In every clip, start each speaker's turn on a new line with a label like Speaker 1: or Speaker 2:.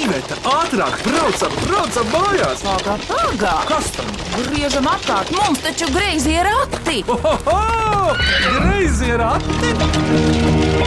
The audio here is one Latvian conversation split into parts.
Speaker 1: Aneta, ātrāk, braucam, braucam mājās!
Speaker 2: Ātrāk, ātrāk!
Speaker 1: Kas tam?
Speaker 2: Griežam apkārt, mums taču greizi ir akti!
Speaker 1: Ohoho! Greizi ir ati!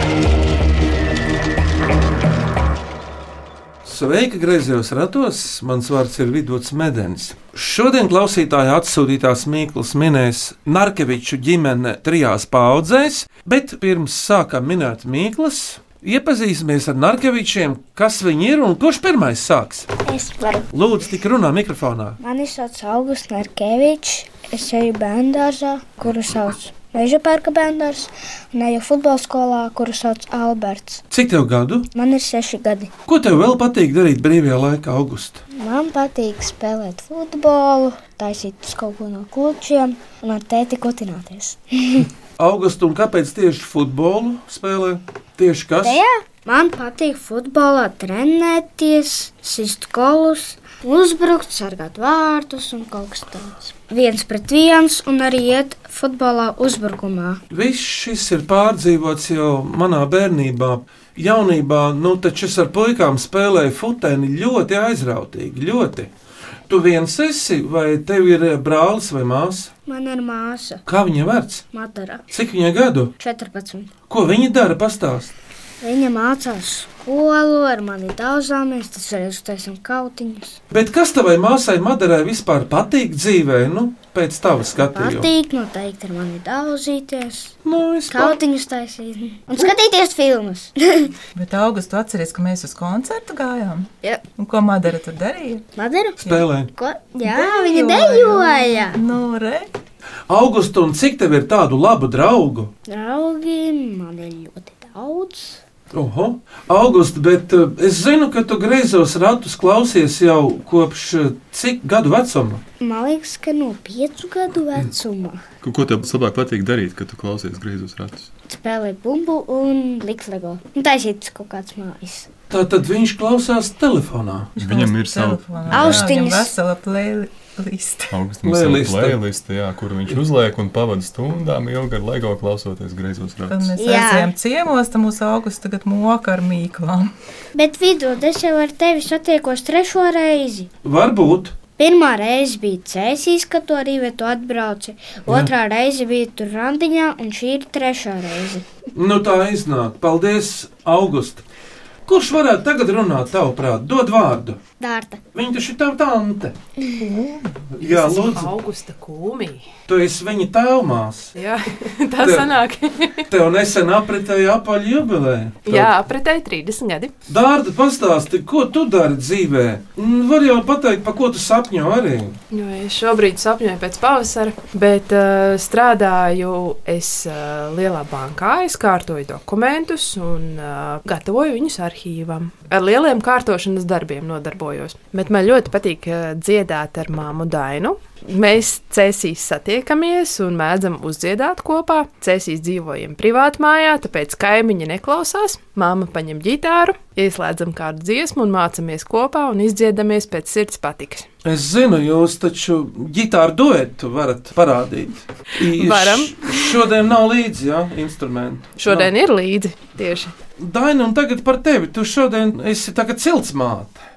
Speaker 3: Sveiki, grazījos ratos! Mans vārds ir Vidvuds Medens. Šodien klausītāja atsūtītās mīklas minēs Narkeviču ģimene trijās paudzēs, bet pirms sākam minēt mīklas, iepazīsimies ar Narkevičiem, kas viņi ir un kurš pirmais sāks.
Speaker 4: Es varu.
Speaker 3: Lūdzu, tik runā mikrofonā.
Speaker 4: Mani sauc Augusts Narkevičs. Es eju bērngārzā, kuru sauc Meža parka bērngārs, un eju futbola skolā, kuru sauc Alberts.
Speaker 3: Cik tev gadu?
Speaker 4: Man ir seši gadi.
Speaker 3: Ko tev vēl patīk darīt brīvajā laikā, augustā?
Speaker 4: Man patīk spēlēt futbolu, taisīt kaut ko no klučiem un ar tēti kotināties.
Speaker 3: Augustā un kāpēc tieši futbolu spēlē? Tieši kas?
Speaker 4: Man patīk futbolā trenēties, sist kolus, uzbrukt, sargāt vārtus un kaut kas tāds. Viens pret viens un arī iet futbolā uzbrukumā.
Speaker 3: Viss šis ir pārdzīvots jau manā bērnībā. Jaunībā, nu, taču es ar puikām spēlēju futeni ļoti aizrautīgi. Ļoti. Tu viens esi, vai tev ir eh, brālis vai māsa?
Speaker 4: Man ir māsa
Speaker 3: Kā viņa vērts?
Speaker 4: Madara,
Speaker 3: Cik viņa gadu?
Speaker 4: 14.
Speaker 3: Ko viņa dara? Pastāst.
Speaker 4: Viņa mācās skolu, ar mani daudzāmies, tas arī uztaisām kautiņus.
Speaker 3: Bet kas tavai māsai Madarai vispār patīk dzīvē, nu, pēc tava skatījuma?
Speaker 4: Patīk, noteikti ar mani daudzīties,
Speaker 3: Nu, es pat...
Speaker 4: kautiņus taisīt un skatīties filmas.
Speaker 5: Bet augustā atceries, ka mēs uz koncertu gājām.
Speaker 4: Jā.
Speaker 5: Un ko Madara tur darīja?
Speaker 4: Madara?
Speaker 3: Spēlē.
Speaker 4: Ko? Jā, viņa dejoja!
Speaker 5: Nu, re!
Speaker 3: Augustu, un cik tev ir tādu labu draugu?
Speaker 4: Draugi, man ir ļoti daudz.
Speaker 3: Oho, Augusta, bet eh, es zinu, ka tu greizos ratus klausies jau kopš eh, cik gadu vecuma?
Speaker 4: Man liekas, ka no piecu gadu vecuma
Speaker 6: Ko, ko tev labāk patīk darīt, kad tu klausies griezus ratus?
Speaker 4: spēlēja bumbu un liks lego. Un taisīt kaut kāds mājas.
Speaker 3: Tā tad viņš klausās telefonā.
Speaker 6: Viņam ir sava
Speaker 4: Austiņas.
Speaker 5: Viņam vesela playlist.
Speaker 3: Playliste.
Speaker 6: playliste, jā, kur viņš uzliek un pavada stundām ilgi ar LEGO klausoties griezus
Speaker 5: Un
Speaker 6: ratus.
Speaker 5: mēs
Speaker 4: Jā.
Speaker 5: aizējām ciemos, tad mūsu augusta tagad moka ar mīklām.
Speaker 4: Bet vidū es jau ar tevi satiekos trešo reizi.
Speaker 3: Varbūt.
Speaker 4: Pirmā reize bija cēsīs, kad to arī vietu atbrauci. Otrā Jā. reize bija tur randiņā, un šī ir trešā reize.
Speaker 3: Nu tā iznāk. Paldies, Augusta. Kurš varētu tagad runāt tavuprāt? Dod vārdu.
Speaker 4: Dārta.
Speaker 3: Viņa taču ir tava tante. Jā, lūdzu.
Speaker 7: Augusta kūmija.
Speaker 3: Tu esi viņa tēvmās.
Speaker 7: Jā, tā
Speaker 3: Tev-
Speaker 7: sanāk.
Speaker 3: Tev nesen apritēja apaļu jubileja.
Speaker 7: Jā, apritēji 30 gadi.
Speaker 3: Dārda, pastāsti, ko tu dari dzīvē? Mm, Var jau pateikt, pa ko tu sapņo arī.
Speaker 7: Jo es šobrīd sapņoju pēc pavasara, bet uh, strādāju es uh, lielā bankā, es kārtoju dokumentus un uh, gatavoju viņus arhīvam. Ar lieliem kārtošanas darbiem nodarbojos. Bet man ļoti patīk uh, dziedāt ar māmu Dainu. Mēs cēsīs satiekamies un mēdzam uzdziedāt kopā. Cēsīs dzīvojam privāti mājā, tāpēc kaimiņi neklausās. Māma paņem ģitāru, ieslēdzam kādu dziesmu un mācamies kopā un izdziedamies pēc sirds patikas.
Speaker 3: Es zinu, jūs taču ģitāru duetu varat parādīt. I-
Speaker 7: Varam.
Speaker 3: š- Šodien nav līdzi ja, instrumentu.
Speaker 7: Šodien ir līdzi tieši.
Speaker 3: Nav. Daina, un tagad par tevi. Tu šodien esi tagad ciltsmāte.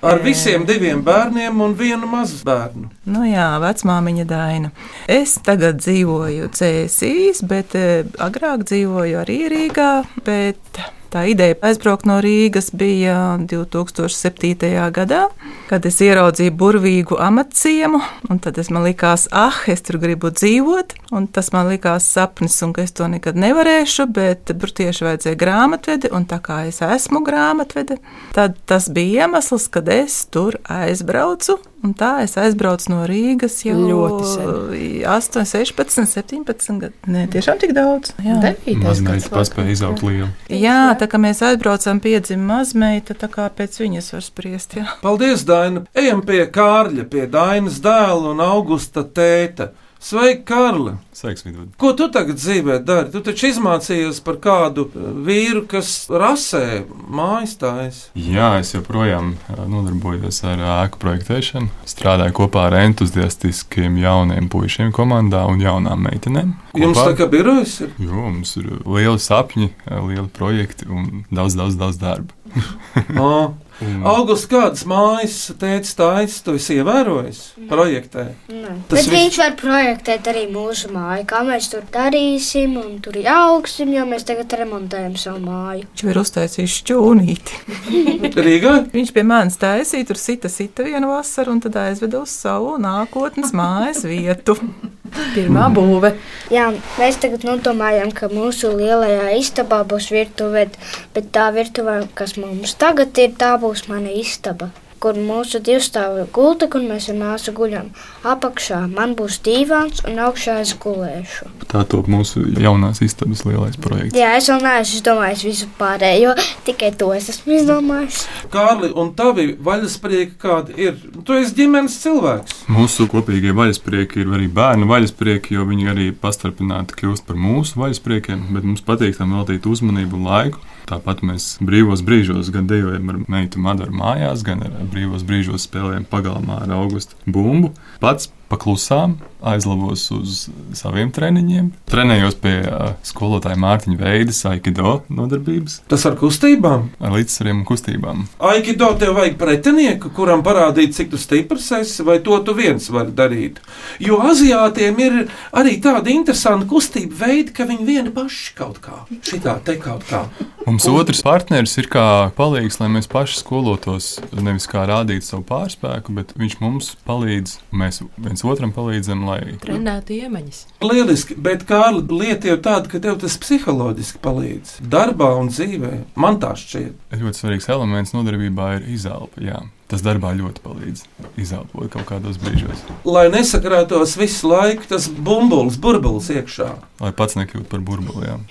Speaker 3: Ar visiem diviem bērniem un vienu mazu bērnu.
Speaker 5: Nu jā, vecmāmiņa Daina. Es tagad dzīvoju Cēsīs, bet eh, agrāk dzīvoju arī Rīgā. bet Tā ideja aizbraukt no Rīgas bija 2007. gadā, kad es ieraudzīju burvīgu amatciemu, un tad es man likās, ah, es tur gribu dzīvot, un tas man likās sapnis, un ka es to nekad nevarēšu, bet tur tieši vajadzēja grāmatvedi, un tā kā es esmu grāmatvede, tad tas bija iemesls, kad es tur aizbraucu, un tā es aizbraucu no Rīgas jau
Speaker 7: Ļoti sen.
Speaker 5: 8, 16, 17 gadu. Nē, tiešām tik daudz. Jā.
Speaker 6: Mazmeita paspēja izaugt lielu.
Speaker 5: Jā, tā kā mēs aizbraucām piedzimta mazmeita, tā kā pēc viņas var spriest. Jā.
Speaker 3: Paldies, Daina. Ejam pie Kārļa, pie Dainas dēla un augusta tēta. Sveiki, Kārli!
Speaker 6: Sveiks, vidū.
Speaker 3: Ko tu tagad dzīvē dari? Tu taču izmācījies par kādu eh, vīru, kas rasē mājas tājas.
Speaker 6: Jā, es joprojām ā, nodarbojos ar eh, ēku projektēšanu. Strādāju kopā ar entuziastiskiem jauniem puišiem komandā un jaunām meitenēm.
Speaker 3: Jums
Speaker 6: Kopā-
Speaker 3: tā kā birojas ir?
Speaker 6: Jo, mums eh, ir lieli sapņi, lieli projekti un daudz, daudz, daudz darba.
Speaker 3: Ā,
Speaker 6: Un,
Speaker 3: Augusts, kādas mājas teica, tā es to esi ievērojis projektē? Tas
Speaker 4: Bet
Speaker 3: viss-
Speaker 4: viņš var projektēt arī mūsu māju, kā mēs tur darīsim, un tur augsim, jo mēs tagad remontējam savu māju.
Speaker 5: Viņš jau ir uztaisījis šķūnīti.
Speaker 3: Rīgā?
Speaker 5: Viņš pie manis taisīja, tur sita, sita vienu vasaru un tad aizveda uz savu nākotnes mājas vietu.
Speaker 7: Pirmā būve.
Speaker 4: Jā, mēs tagad nu domājam, ka mūsu lielajā istabā būs virtuve, bet tā virtuve, kas mums tagad ir, tā būs mana istaba. Kur mūsu divstāvu gulta, kur mēs ar māsu guļam. Apakšā man būs dīvāns un augšā es gulēšu.
Speaker 6: tā top mūsu jaunās istabas lielais projekts.
Speaker 4: Jā, es vēl neesmu izdomājis visu pārējo, tikai to es esmu izdomājis.
Speaker 3: Kārli, un tavi vaļasprieki kādi ir? Tu esi ģimenes cilvēks.
Speaker 6: Mūsu kopīgie vaļasprieki ir arī bērnu vaļasprieki, jo viņi arī pastarpināti kļūst par mūsu vaļaspriekiem, bet mums patīk tam veltīt uzmanību un laiku. Tāpat mēs brīvos brīžos gan dejojam ar meitu Madaru mājās, gan ar brīvos brīžos spēlējam pagalmā ar augustu bumbu. Pats paklusām aizlavos uz saviem treniņiem. Trenējos pie ā, skolotāja Mārtiņa Veidas Aikido nodarbības
Speaker 3: Tas ar kustībām.
Speaker 6: ar līdzsvariem un kustībām.
Speaker 3: Aikido tev vajag pretinieku, kuram parādīt, cik tu stiprs esi, vai to tu viens vari darīt. Jo aziātiem ir arī tāda interesanta kustība veidi, ka viņi vieni paši kaut kā, šitā te kaut kā.
Speaker 6: Mums otrs partneris ir kā palīgs, lai mēs paši skolotos, nevis kā rādītu savu pārspēku, bet viņš mums palīdz, mēs viens otram palīdzam, lai
Speaker 7: Trenētu iemaņas.
Speaker 3: Lieliski, bet Kārli, lieta jau tāda, ka tev tas psiholoģiski palīdz darbā un dzīvē. Man tā šķiet.
Speaker 6: ļoti svarīgs elements nodarbībā ir izelpa. Jā. Tas darbā ļoti palīdz izelpot kaut kādos brīžos,
Speaker 3: Lai nesakrātos visu laiku, tas bumbulis, burbulis iekšā.
Speaker 6: lai pats nekļūtu par burbuliem.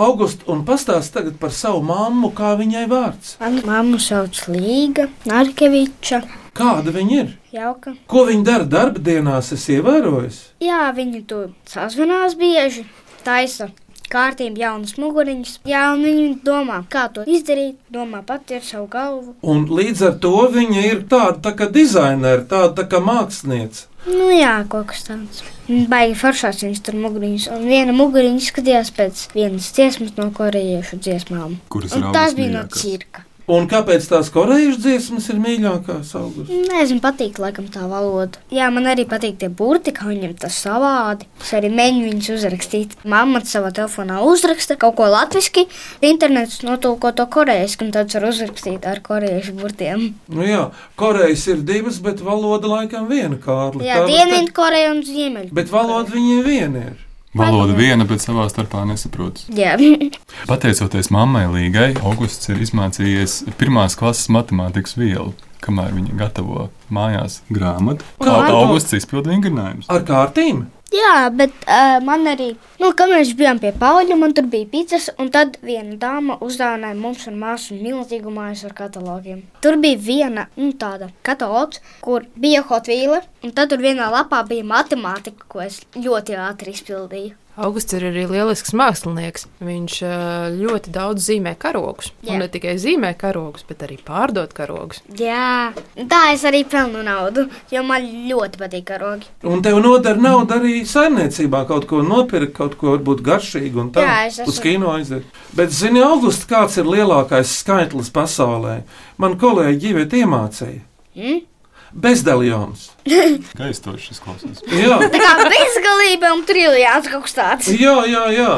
Speaker 3: August, un pastāsti tagad par savu mammu, kā viņai vārds.
Speaker 4: Manu mammu sauc Līga Narkeviča.
Speaker 3: Kāda viņa ir?
Speaker 4: Jauka.
Speaker 3: Ko viņa dara darba dienās, es ievēroju.
Speaker 4: Jā, viņi to sazvanās bieži, taisa kārtību, jaunas muguriņas. Jā, un viņi domā, kā to izdarīt, domā pati ar savu galvu.
Speaker 3: Un līdz ar to viņa ir tāda tā kā dizainere, tāda tā kā mākslinieca.
Speaker 4: Nu, jā, kaut kas tāds. Un Baigi foršās viņas tur muguriņas, un viena muguriņa skatījās pēc vienas dziesmas no korejiešu dziesmām.
Speaker 6: Kuras ir
Speaker 4: Un tās bija no
Speaker 6: augustmīļākās?
Speaker 4: cirka.
Speaker 3: Un kāpēc tās korejiešu dziesmas ir mīļākās augusta?
Speaker 4: Nezinu, patīk laikam tā valoda. Jā, man arī patīk tie burti, kā viņam tas savādi. Es arī mēģinu viņus uzrakstīt. Mamma savā telefonā uzraksta kaut ko latviešu, internets notulko to korejiski, un tāds var uzrakstīt ar korejiešu burtiem.
Speaker 3: Nu jā, korejas ir divas, bet valoda laikam viena kārta.
Speaker 4: Jā, Dienvidkoreja un Ziemeļkoreja.
Speaker 3: Bet valoda viņiem viena ir.
Speaker 6: Valoda viena, bet savā starpā nesaprotas.
Speaker 4: Jā,
Speaker 6: Pateicoties mammai Līgai, augusts ir izmācījies pirmās klases matemātikas vielu, kamēr viņa gatavo mājās grāmatu. Kā
Speaker 3: Grāmatu?
Speaker 6: augusts izpildu vingrinājumus?
Speaker 3: Ar kārtīm?
Speaker 4: Jā bet uh, man arī, nu, kad mēs bijām pie Pauļa, man tur bija pīcis, un tad viena dāma uzdāvināja mums un māsu milzīgu mājas ar katalogiem. Tur bija viena, nu, tāda katalogs, kur bija hotvīle, un tad tur vienā lapā bija matemātika, ko es ļoti ātri izpildīju.
Speaker 7: Augusts ir arī lielisks mākslinieks. Viņš ā, ļoti daudz zīmē karogus.
Speaker 4: Jā.
Speaker 7: Un ne tikai zīmē karogus, bet arī pārdod karogus.
Speaker 4: Jā, tā es arī pelnu naudu, jo man ļoti patīk karogi.
Speaker 3: Un tev nodara naudu arī saimniecībā. Kaut ko nopirkt, kaut ko varbūt garšīgu un tādu.
Speaker 4: Jā, es esmu-
Speaker 3: Uz kino aiziet. Bet, zini, augustā kāds ir lielākais skaitlis pasaulē? Man kolēģi ģivēt iemācīja.
Speaker 4: Mm?
Speaker 3: Bezdaljons.
Speaker 6: Gaistoši šis klausās.
Speaker 3: Jā.
Speaker 4: Tā kā bezgalība un triljāns kaut kas tāds.
Speaker 3: Jā, jā, jā.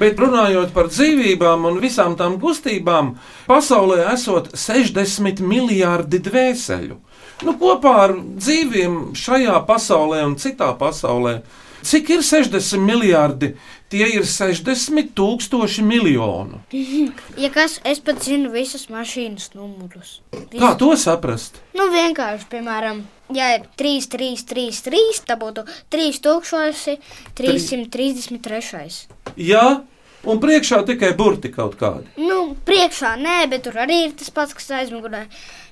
Speaker 3: Bet runājot par dzīvībām un visām tām kustībām, pasaulē esot 60 miljardi dvēseli. Nu, kopā ar dzīviem šajā pasaulē un citā pasaulē. Cik ir 60 miljardi? Tie ir 60 tūkstoši miljonu.
Speaker 4: Ja kas, es pat zinu visas mašīnas numurus.
Speaker 3: Kā to saprast?
Speaker 4: Nu, vienkārši, piemēram, ja ir 3, 3, 3, 3, tad būtu 3333.
Speaker 3: Jā, un priekšā tikai burti kaut kādi.
Speaker 4: Nu, priekšā nē, bet tur arī ir tas pats, kas aizmugurē.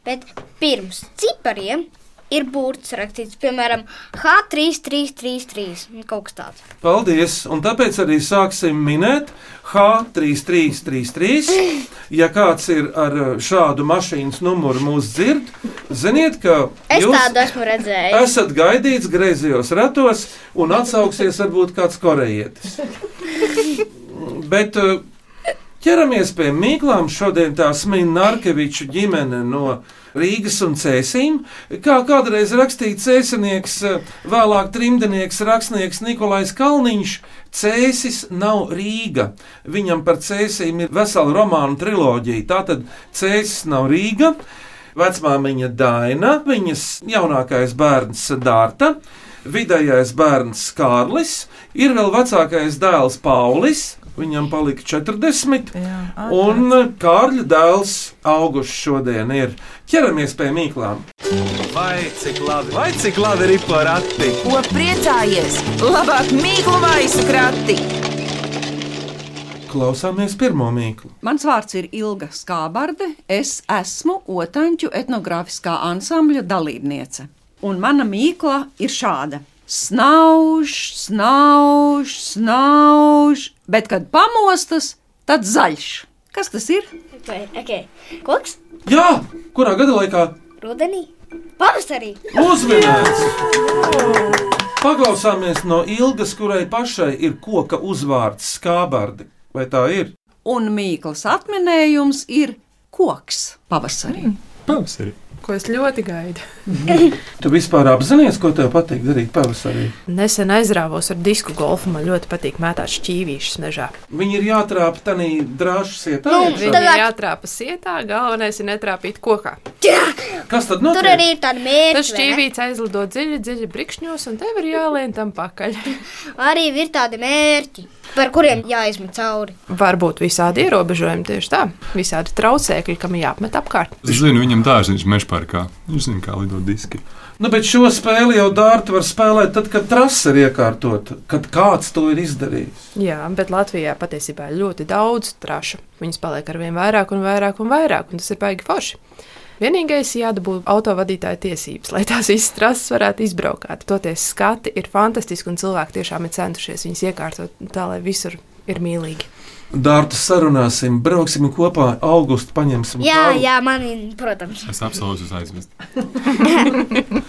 Speaker 4: Bet pirms cipariem ir burts rakstīts, piemēram, H3333, kaut kas tāds.
Speaker 3: Paldies! Un tāpēc arī sāksim minēt H3333. Ja kāds ir ar eh, šādu mašīnas numuru mūsu dzird, ziniet, ka
Speaker 4: Es
Speaker 3: jūs
Speaker 4: Jūs... tādu esmu redzējis.
Speaker 3: esat gaidīts griezījos ratos un atsauksies varbūt kāds korejietis. Bet eh, Ķeramies pie mīklām. Šodien tā smīna Narkeviču ģimene no Rīgas un Cēsīm. Kā kādreiz rakstīja cēsinieks, eh, vēlāk trimdnieks, rakstnieks Nikolais Kalniņš, Cēsis nav Rīga. Viņam par cēsīm ir vesela romānu triloģija. Tātad Cēsis nav Rīga, vecmāmiņa Daina, viņas jaunākais bērns Dārta, vidējais bērns Kārlis, ir vēl vecākais dēls Paulis. Viņam palika 40,
Speaker 5: Jā,
Speaker 3: Un Kārļa dēls augusts šodien ir. Ķeramies pie mīklām.
Speaker 1: Vai cik labi, vai cik labi ir porati?
Speaker 2: Ko priecājies? Labāk mīklu maisu krati!
Speaker 3: Klausāmies pirmo mīklu.
Speaker 8: Mans vārds ir Ilga Skābarde. Es esmu Otāņu etnogrāfiskā ansambļa dalībniece. Un mana mīkla ir šāda. Snauž, snauž, snauž, bet kad pamostas, tad zaļš. Kas tas ir?
Speaker 4: Okay, okay. Koks?
Speaker 3: Jā, kurā gada laikā
Speaker 4: Rudenī? Pavasarī!
Speaker 3: uzminēts? Paklausāmies no ilgas, kurai pašai ir koka uzvārds Skābārdi. Vai tā ir?
Speaker 8: Un mīklas atminējums ir koks pavasarī.
Speaker 6: Pavasarī.
Speaker 7: ko es ļoti gaidu.
Speaker 3: Tu vispār apzinājies, ko tev patīk darīt pavasarī.
Speaker 7: Nesen aizrāvos ar disku golfu. Man ļoti patīk mētāt šķīvīšus mežā.
Speaker 3: Viņi ir jātrāpa tādā drāšu sietā.
Speaker 4: Nu,
Speaker 3: iekšā.
Speaker 7: Viņi
Speaker 4: Tagad-
Speaker 7: ir jātrāpa sietā, galvenais ir netrāpīt kokā.
Speaker 3: Kas tad notiek?
Speaker 4: Tur arī ir tāda mērķa.
Speaker 7: Tas šķīvīts aizlido dziļi, dziļi brikšņos, un tev ir jālien tam pakaļ.
Speaker 4: Arī ir tādi mērķi, par kuriem jāizmet cauri.
Speaker 7: Varbūt visādi ierobežojumi tieši tā, visādi traucēkļi, kam jāapmet apkārt.
Speaker 6: Es zinu, viņam tā ir meža parkā. Viņš zina, kā lidot diski.
Speaker 3: Nu, bet šo spēli jau dārti var spēlēt, tad, kad trasa ir iekārtota, kad kāds to ir izdarījis.
Speaker 7: Jā, bet Latvijā patiesībā ir ļoti daudz trašu. Viņas paliek ar vien vairāk un vairāk un vairāk, un tas ir baigi forši. Vienīgais ir jādabū autovadītāja tiesības, lai tās visas trases varētu izbraukāt. Toties skati ir fantastiski, un cilvēki tiešām ir centušies viņas iekārtot tā, lai visur ir mīlīgi.
Speaker 3: Dārta sarunāsim, brauksim kopā, augustu paņemsim.
Speaker 4: Jā,
Speaker 3: kalnu.
Speaker 4: jā, man ir, protams.
Speaker 6: Es apsolu jūs aizvest.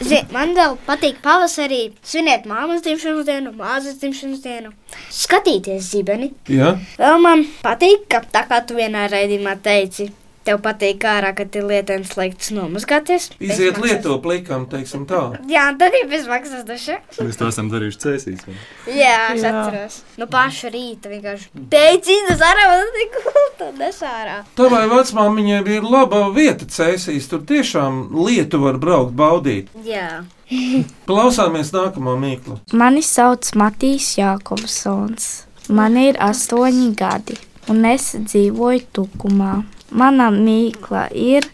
Speaker 4: Zin, man vēl patīk pavasarī svinēt māmas dzimšanas dienu, māzes dzimšanas dienu, skatīties zibeni.
Speaker 3: Jā?
Speaker 4: Vēl man patīk, ka tā kā tu vienā raidījumā teici, tev patīk ārā, ka ir lietens laiks nomazgāties.
Speaker 3: Iziet
Speaker 4: Bezmaksas.
Speaker 3: lietu plakām, teiksim tā.
Speaker 4: Jā, tad ir bezmaksas duša.
Speaker 6: Mēs to esam darījuši cēsīs. vai?
Speaker 4: Jā,
Speaker 5: Jā.
Speaker 4: es Jā. atceros. No paša rīta vienkārši. Beidzot, ārā man ir gulta, nesārā.
Speaker 3: Tavai vecmāmiņai bija laba vieta cēsīs, tur tiešām lietu var braukt, baudīt.
Speaker 4: Jā.
Speaker 3: Klausāmies nākamo mīklu.
Speaker 9: Mani sauc Matīs Jākopsons. Man ir astoņi gadi, un es dzīvoju Tukumā. Mana mīkla ir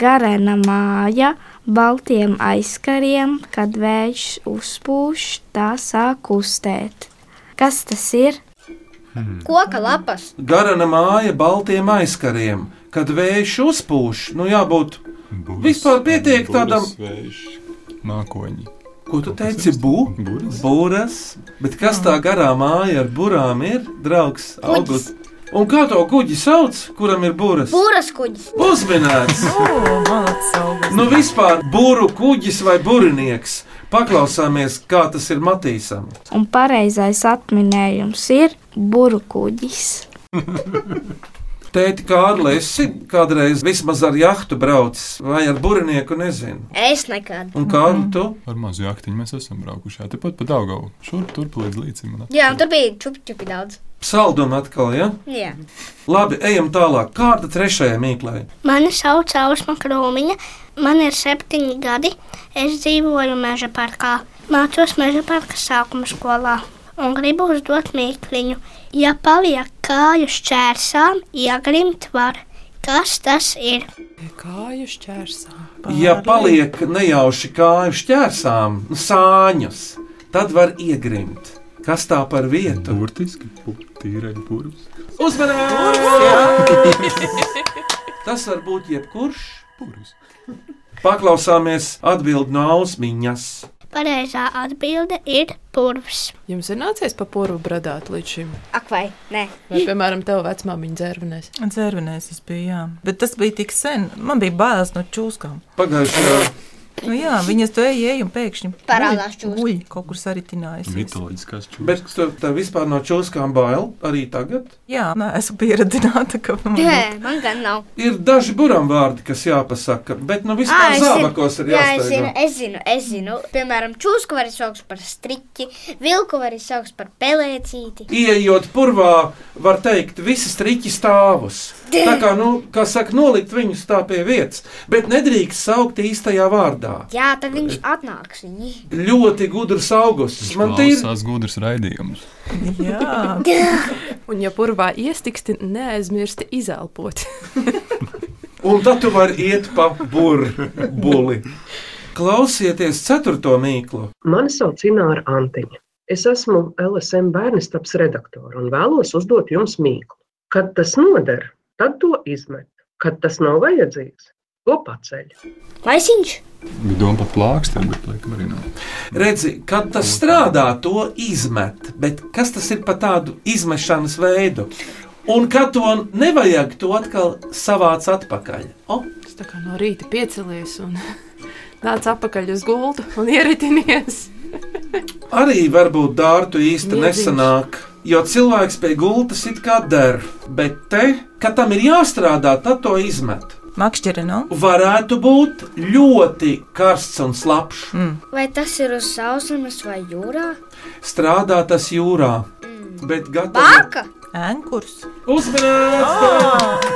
Speaker 9: garena māja, baltiem aizkariem, kad vējš uzpūš, tā sāk kustēt. Kas tas ir?
Speaker 4: Koka lapas.
Speaker 3: Garana māja baltiem aizkariem, kad vējš uzpūš, nu jābūt.
Speaker 6: Būs,
Speaker 3: Vispār pietiek tādam-
Speaker 6: vējš, mākoņi.
Speaker 3: Ko tu teici, bū?
Speaker 6: Būs.
Speaker 3: Būras, bet kas tā garā māja ar burām ir, draugs? Augusts. Un kā to kuģi sauc, kuram ir būras?
Speaker 4: Pūras kuģis.
Speaker 3: Uzminēts!
Speaker 5: Mākslinieks
Speaker 3: Nu, vispār būru kuģis vai burinieks. Paklausāmies, kā tas ir Matīsam.
Speaker 9: Un pareizais atminējums ir burbuļkuģis.
Speaker 3: Tēti Kārlis, esi kādreiz vismaz ar jahtu braucis vai ar burinieku, nezinu.
Speaker 4: Es nekad.
Speaker 3: Un kā mm. tu?
Speaker 6: Ar mazu jaktiņu mēs esam braukuši. Jā, tepat pa Daugavu. Šur turp līdz līcim. un at-
Speaker 4: Jā, un tur bija čupčupi daudz.
Speaker 3: Saldum atkal, ja?
Speaker 4: Jā.
Speaker 3: Labi, ejam tālāk. Kārta trešajai mīklei.
Speaker 10: Mani sauc Ausma Krūmiņa, man ir septiņi gadi. Es dzīvoju meža parkā, mācos meža parka sākuma skolā un gribu uzdot mīkliņu. Ja paliek kāju šķērsām, iegrimt var. Kas tas ir?
Speaker 7: Kāju šķērsām.
Speaker 3: Ja paliek nejauši kāju šķērsām, sāņus, tad var iegrimt. Kas tā par vietu?
Speaker 6: Burtiski, pu- tīrai purvs.
Speaker 3: Uzmanības! Tas var būt jebkurš.
Speaker 6: Purvs.
Speaker 3: Paklausāmies atbildi no ausmiņas.
Speaker 10: Pareizā atbilde ir purvs.
Speaker 7: Jums ir nācies pa poru bradāt līdz šim,
Speaker 4: Ak, vai? Nē.
Speaker 7: vai, piemēram, tev vecmāmiņa dzērvenēs.
Speaker 5: Cervinēs es biju, jā. Bet tas bija tik sen. Man bija bailes no čūskām.
Speaker 3: Pagājušajā
Speaker 5: Nu, jā, viņas to ej, un pēkšņi
Speaker 10: Parādās čūska.
Speaker 5: Uļ, kaut kur saritinājusies.
Speaker 6: Mitoloģiskās
Speaker 3: Bet
Speaker 6: čūskas.
Speaker 3: tu tā vispār no čūskām bail arī tagad.
Speaker 5: Jā, nē, esmu pieredzināta, ka man
Speaker 10: Nē, man gan nav.
Speaker 3: Ir daži buram vārdi, kas jāpasaka, bet nu vispār
Speaker 10: Ā, es zinu.
Speaker 3: zābakos ir
Speaker 4: Ah, Jā, es zinu,
Speaker 3: jāsteigā.
Speaker 4: es zinu, es zinu. Piemēram, čūsku var saukt par striķi, vilku var saukt par pelēcīti.
Speaker 3: Iejot purvā, var teikt, visas riķi stāvus. Tā kā, nu, kā saka, nolikt viņus tā pie vietas, bet nedrīkst saukt īstajā vārdā.
Speaker 4: Jā, tad viņš atnāks viņi.
Speaker 3: Ļoti gudrs augusts. Man tie ir
Speaker 6: Klausās gudrs raidījums.
Speaker 5: Jā,
Speaker 7: Un, ja purvā iestiksti, neaizmirsti izelpot.
Speaker 3: Un tad tu vari iet pa burbuli. Klausieties, ceturto mīklu.
Speaker 11: Mani sauc Ināra Antiņa. Es esmu LSM bērnistaps redaktore un vēlos uzdot jums mīklu. Kad tas noder, tad to izmet. Kad tas nav vajadzīgs, to paceļ.
Speaker 4: Laisiņš?
Speaker 6: Bija doma par plākstiem, bet laikam arī nav.
Speaker 3: Redzi, kad tas strādā, to izmet. Bet kas tas ir par tādu izmešanas veidu? Un kad to nevajag, to atkal savāc atpakaļ. O,
Speaker 7: Es tā kā no rīta piecelies un nāc atpakaļ uz gultu un ieritinies.
Speaker 3: arī varbūt dārtu īsti
Speaker 7: Miedziņš.
Speaker 3: nesanāk. Jo cilvēks pie gultas it kā der, bet te, kad tam ir jāstrādā, tad to izmet.
Speaker 5: makšķere nav.
Speaker 3: Varētu būt ļoti karsts un slapjš.
Speaker 4: Vai tas ir uz sauszemes vai jūrā?
Speaker 3: Strādā tas jūrā, bet gatavo
Speaker 4: Baka!
Speaker 5: Ēnkurs.
Speaker 3: uzmanību.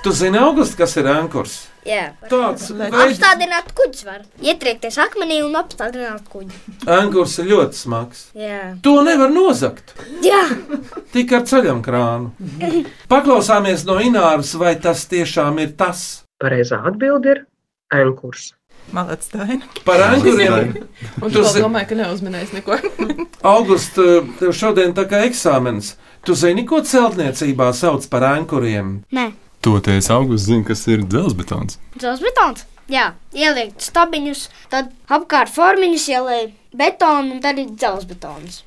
Speaker 3: Tu zini, August, kas ir ankurs?
Speaker 4: Jā.
Speaker 3: Tāds veids,
Speaker 4: Apstādināt kuģi var. Ietriekties akmenī un apstādināt kuģi.
Speaker 3: ankurs ir ļoti smags.
Speaker 4: Jā.
Speaker 3: To nevar nozagt
Speaker 4: Jā.
Speaker 3: tikai ar ceļam krānu. Paklausāmies no Ināras, vai tas tiešām ir tas.
Speaker 11: Pareizā atbilde ir ankurs.
Speaker 5: Malāts Daina.
Speaker 3: Par ankuriem
Speaker 7: Un
Speaker 3: Tu
Speaker 7: tu
Speaker 3: zi-
Speaker 7: domāji, ka neuzminēs neko.
Speaker 3: August, tev eh, šodien tā kā eksāmenis. Tu zini, ko celtniecībā sauc par ankuriem?
Speaker 4: Nē.
Speaker 6: Toties augusts zina, kas ir dzelzbetons.
Speaker 4: Dzelzbetons. Jā, ielikt stabiņus, tad apkārt formiņus ielēja betonu un tad ir dzelzbetons.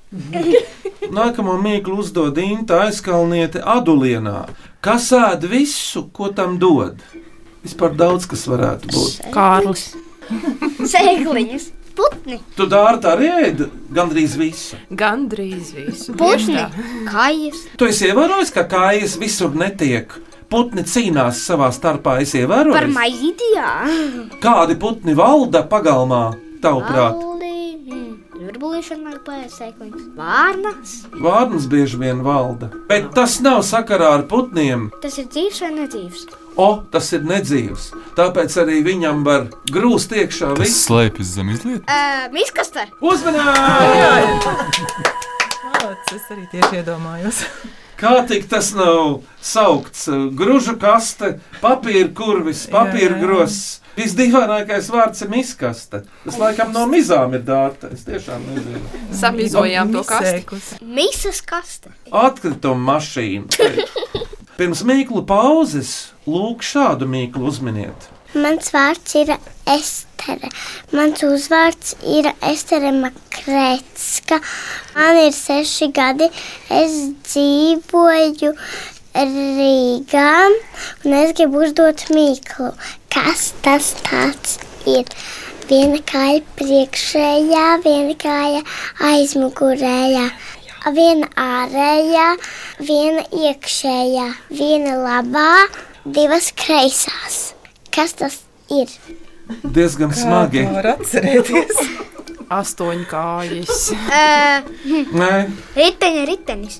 Speaker 3: Nākamo mīklu uzdod Inta aizkalniete Adulienā. Kas ēd visu, ko tam dod? Vispār daudz, kas varētu būt.
Speaker 7: Kārlis.
Speaker 4: Sēkliņas, putni,
Speaker 3: Tu dārta arī ēd gandrīz visu.
Speaker 7: Gan drīz visu.
Speaker 4: putni, kājas.
Speaker 3: Tu esi ievērojis, ka kājas visur netiek. Putni cīnās savā starpā, es
Speaker 4: Par
Speaker 3: ievēroju.
Speaker 4: maizīti, jā.
Speaker 3: Kādi putni valda pagalmā, tavuprāt?
Speaker 4: Mm. Virbulīšana vai sēkliņas. Vārnas.
Speaker 3: Vārnas bieži vien valda. Bet tas nav sakarā ar putniem.
Speaker 4: Tas ir dzīves vai nedzīves?
Speaker 3: O, tas ir nedzīvs. Tāpēc arī viņam var grūst iekšā
Speaker 6: Tas
Speaker 3: viss.
Speaker 6: slēpjas zem izlietas.
Speaker 4: Uh, Miskaster.
Speaker 3: Uzmanīgi!
Speaker 5: Malāts, es arī tieši iedomājos.
Speaker 3: Kā tik tas nav saukts? Gružu kaste, papīra kurvis, papīra
Speaker 5: Jā, jā.
Speaker 3: grosis. Visdīvainākais vārds ir miskaste. Tas laikam no mizām ir dārta. Es tiešām nezinu.
Speaker 7: Samizojām to kastu.
Speaker 5: Misēkus.
Speaker 4: Mīsas kaste.
Speaker 3: Atkrituma mašīna. Pirms mīklu pauzes lūk šādu mīklu uzminiet.
Speaker 10: Mans vārds ir Estere. Mans uzvārds ir Estere Makrētska. Man ir seši gadi. Es dzīvoju Rīgā un es gribu uzdot mīklu. Kas tas tāds ir? Viena kāja priekšējā, viena kāja aizmugurējā. Viena ārējā, viena iekšējā, viena labā, divas kreisās. Kas tas ir?
Speaker 3: Diezgan smagi.
Speaker 5: Var atcerēties.
Speaker 7: Astoņkājas.
Speaker 4: Uh,
Speaker 3: Nē,
Speaker 4: riteņa ritenis.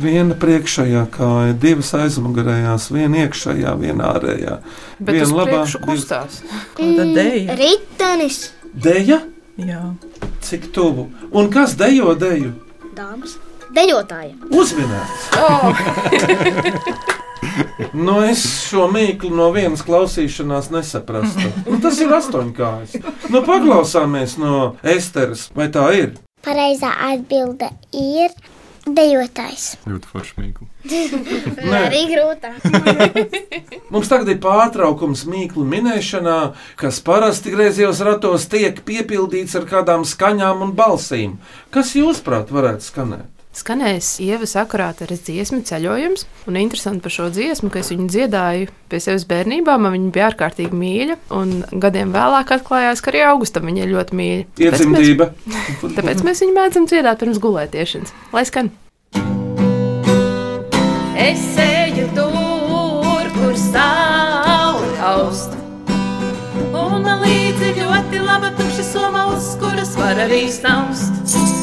Speaker 3: viena priekšējā kāja, divas aizmugurējās, viena iekšējā, viena ārējā.
Speaker 7: Bet uz
Speaker 3: Viena labā,
Speaker 7: priekšu
Speaker 3: divas-
Speaker 7: kustās.
Speaker 5: Un tad deja.
Speaker 4: Ritenis.
Speaker 3: Deja,
Speaker 5: Jā.
Speaker 3: cik tuvu. Un kas dejo deju?
Speaker 4: Dāmas. Dejotāja.
Speaker 3: Uzminēts!
Speaker 7: Oh,
Speaker 3: Nu, es šo mīklu no vienas klausīšanās nesaprastu. Nu, tas ir astoņkājs. Nu, paklausāmies no Esteras, vai tā ir?
Speaker 10: Pareizā atbilde ir dejotājs.
Speaker 6: Ļoti forši mīklu.
Speaker 3: Nē.
Speaker 4: Arī grūtā.
Speaker 3: Mums tagad ir pārtraukums mīklu minēšanā, kas parasti griezījos ratos tiek piepildīts ar kādām skaņām un balsīm. Kas, jūsuprāt, varētu skanēt?
Speaker 12: skanēs ievas akurāteres dziesma ceļojums. Un interesanti par šo dziesmu, ka es viņu dziedāju pie sevis bērnībā, man viņa bija ārkārtīgi mīļa, un gadiem vēlāk atklājās, ka arī augustam viņa ir ļoti mīļa. Tāpēc
Speaker 3: Iedzimtība.
Speaker 12: Mēs, tāpēc mēs viņu mēdzam dziedāt pirms gulētiešanas. Lai skan!
Speaker 7: Es eju tur, kur saule aust. Un man līdzi ir ļoti laba tukša soma, uz kuras var arī snaust.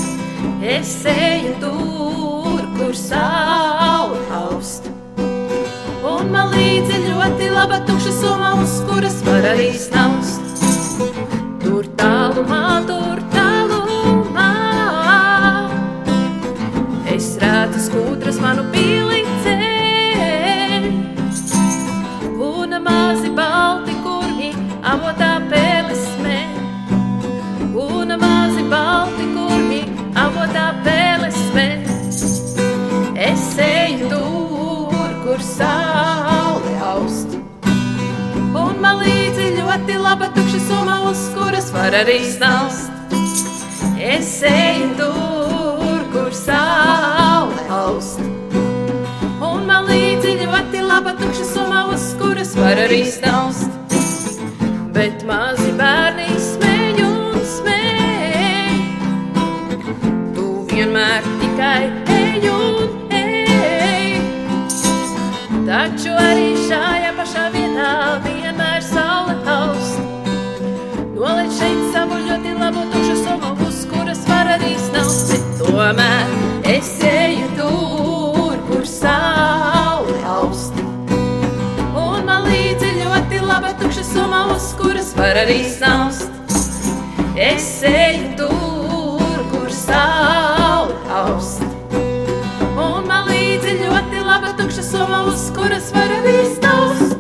Speaker 7: Es eju tur, kur saule aust. Un man līdzi ir ļoti laba tukša soma, uz kuras var arī snaust. Tur tālumā, tur tālumā. Es redzu skūtras manu pīlīcē. Un mazi balti kurgi avotā pēles smē. Un mazi balti kurgi avotā pēles smē. Es eju tur, kur saule aust. Un man līdzi ļoti laba tukša summa, uz kuras var arī snaust. Es eju tur, kur saule aust. Un man līdzi ļoti laba tukša summa, uz kuras var arī snaust. Bet mazi bērni smēj un smēj. Tu vienmēr tikai ej un ej. Taču arī šajā pašā vietā vienmēr saule aust. Noliec šeit savu ļoti labu tukšu somu, uz kuras var arī snaust. Bet Tomēr es eju tur, kur saule aust. Un man līdzi ļoti laba tukša soma, uz kuras var arī snaust. Es eju tur, kur saule aust. Un man līdzi ļoti laba tukša soma, uz kuras var arī snaust.